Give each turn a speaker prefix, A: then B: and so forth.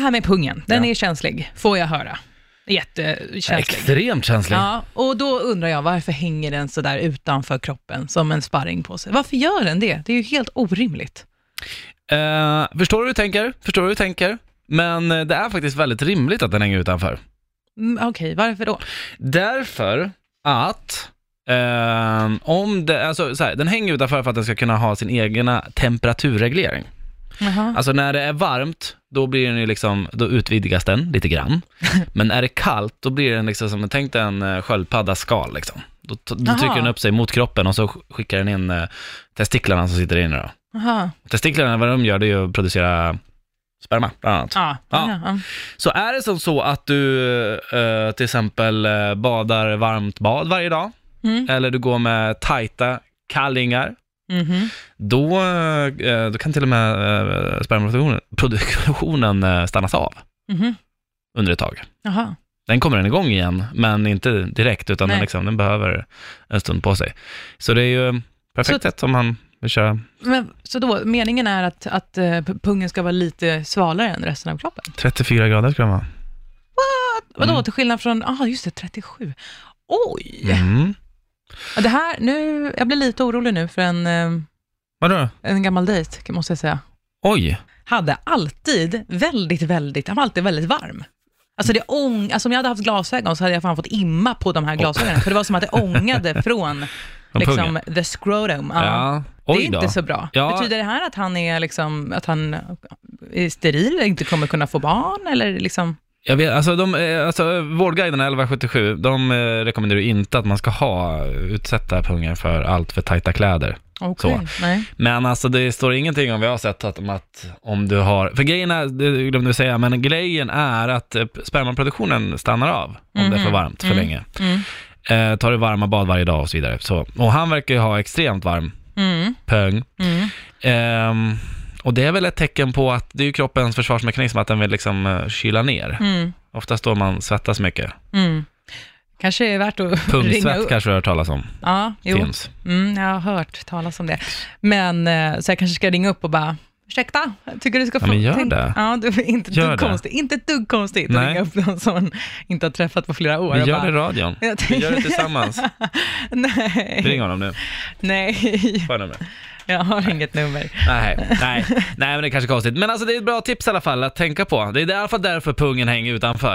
A: här med pungen, den
B: Ja.
A: är känslig, får jag höra. Jättekänslig.
B: Extremt känslig.
A: Ja, och då undrar jag varför hänger den så där utanför kroppen som en sparring på sig? Varför gör den det? Det är ju helt orimligt.
B: Eh, förstår du hur du tänker? Förstår du hur du tänker? Men eh, det är faktiskt väldigt rimligt att den hänger utanför.
A: Mm, Okej, varför då?
B: Därför att ehm, om det, alltså så här, den hänger utanför för att den ska kunna ha sin egna temperaturreglering.
A: Jaha.
B: Alltså när det är varmt, då blir den ju liksom, då utvidgas den lite grann. Men är det kallt, då blir den liksom som, tänk dig en eh, sköldpaddas skal liksom. Då, t- då
A: Aha.
B: trycker den upp sig mot kroppen och så sk- skickar den in eh, testiklarna som sitter inne då.
A: Jaha.
B: Testiklarna, vad de gör, det är ju att producera sperma, bland annat.
A: Ja.
B: Ja.
A: Ja.
B: Så är det som så att du eh, till exempel eh, badar varmt bad varje dag,
A: Mm.
B: eller du går med tajta kallingar,
A: Mhm.
B: då, eh, då kan till och med eh, spermaproduktionen produktionen, eh, stannas av
A: Mhm.
B: under ett tag.
A: Jaha.
B: Den kommer den igång igen, men inte direkt, utan den,
A: Nej.
B: liksom, den behöver en stund på sig. Så det är ju perfekt
A: Så-
B: sätt om man vill köra
A: Men, så då, meningen är att, att eh, p- pungen ska vara lite svalare än resten av kroppen?
B: 34 grader ska den vara.
A: Vadå,
B: Mm.
A: till skillnad från, ah just det, 37. Oj!
B: Mm.
A: Det här, nu, jag blir lite orolig nu för en, eh,
B: Vadå?
A: en gammal dejt, måste jag säga.
B: Oj,
A: hade alltid väldigt, väldigt, han var alltid väldigt varm. Alltså, det ång, alltså om jag hade haft glasögon så hade jag fan fått imma på de här glasögonen, för det var som att det ångade från
B: Från
A: liksom,
B: pungen?
A: the scrotum. Ja.
B: ja. Oj
A: det är
B: då.
A: inte så bra.
B: Ja.
A: Betyder det här att han är, liksom, att han är steril, inte kommer kunna få barn? Eller liksom?
B: Jag vet, alltså, de, eh, alltså vårdguiderna 1177, de eh, rekommenderar ju inte att man ska ha, eh, utsätta pungen för allt för tajta kläder.
A: Okej, nej.
B: Men alltså det står ingenting om, vi har sett att, om att om du har, för grejen är, det glömde vi säga, men grejen är att eh, spermaproduktionen stannar av om det är för
A: Mhm.
B: varmt för
A: Mm.
B: länge.
A: Mm.
B: Eh, tar du varma bad varje dag och så vidare. Så, och han verkar ju ha extremt varm
A: Mm.
B: pung.
A: Mm.
B: Ehm, och det är väl ett tecken på att det är ju kroppens försvarsmekanism, att den vill liksom eh, kyla ner.
A: Mm.
B: Oftast då man svettas mycket.
A: Mm. Kanske är det värt att ringa
B: Pungsvett
A: upp.
B: kanske du har hört talas om.
A: Ja, jo.
B: Finns.
A: Mm, jag har hört talas om det. Men eh, så jag kanske ska ringa upp och bara, ursäkta, jag tycker du ska få...
B: Ja, men gör
A: tänk-
B: det.
A: Ja, du, inte, ett
B: Gör
A: dugg
B: det.
A: konstigt, inte ett dugg konstigt
B: Nej.
A: att ringa upp någon som man inte har träffat på flera år.
B: Vi
A: och
B: gör
A: bara,
B: det i radion.
A: Jag
B: Vi
A: tänker-
B: gör det tillsammans. Ring
A: Nej,
B: honom nu.
A: nej,
B: Får jag numret?
A: jag har inget nummer.
B: Nej, nej, nej, men det är kanske är konstigt. Men alltså det är ett bra tips i alla fall att tänka på. Det är i alla fall därför pungen hänger utanför.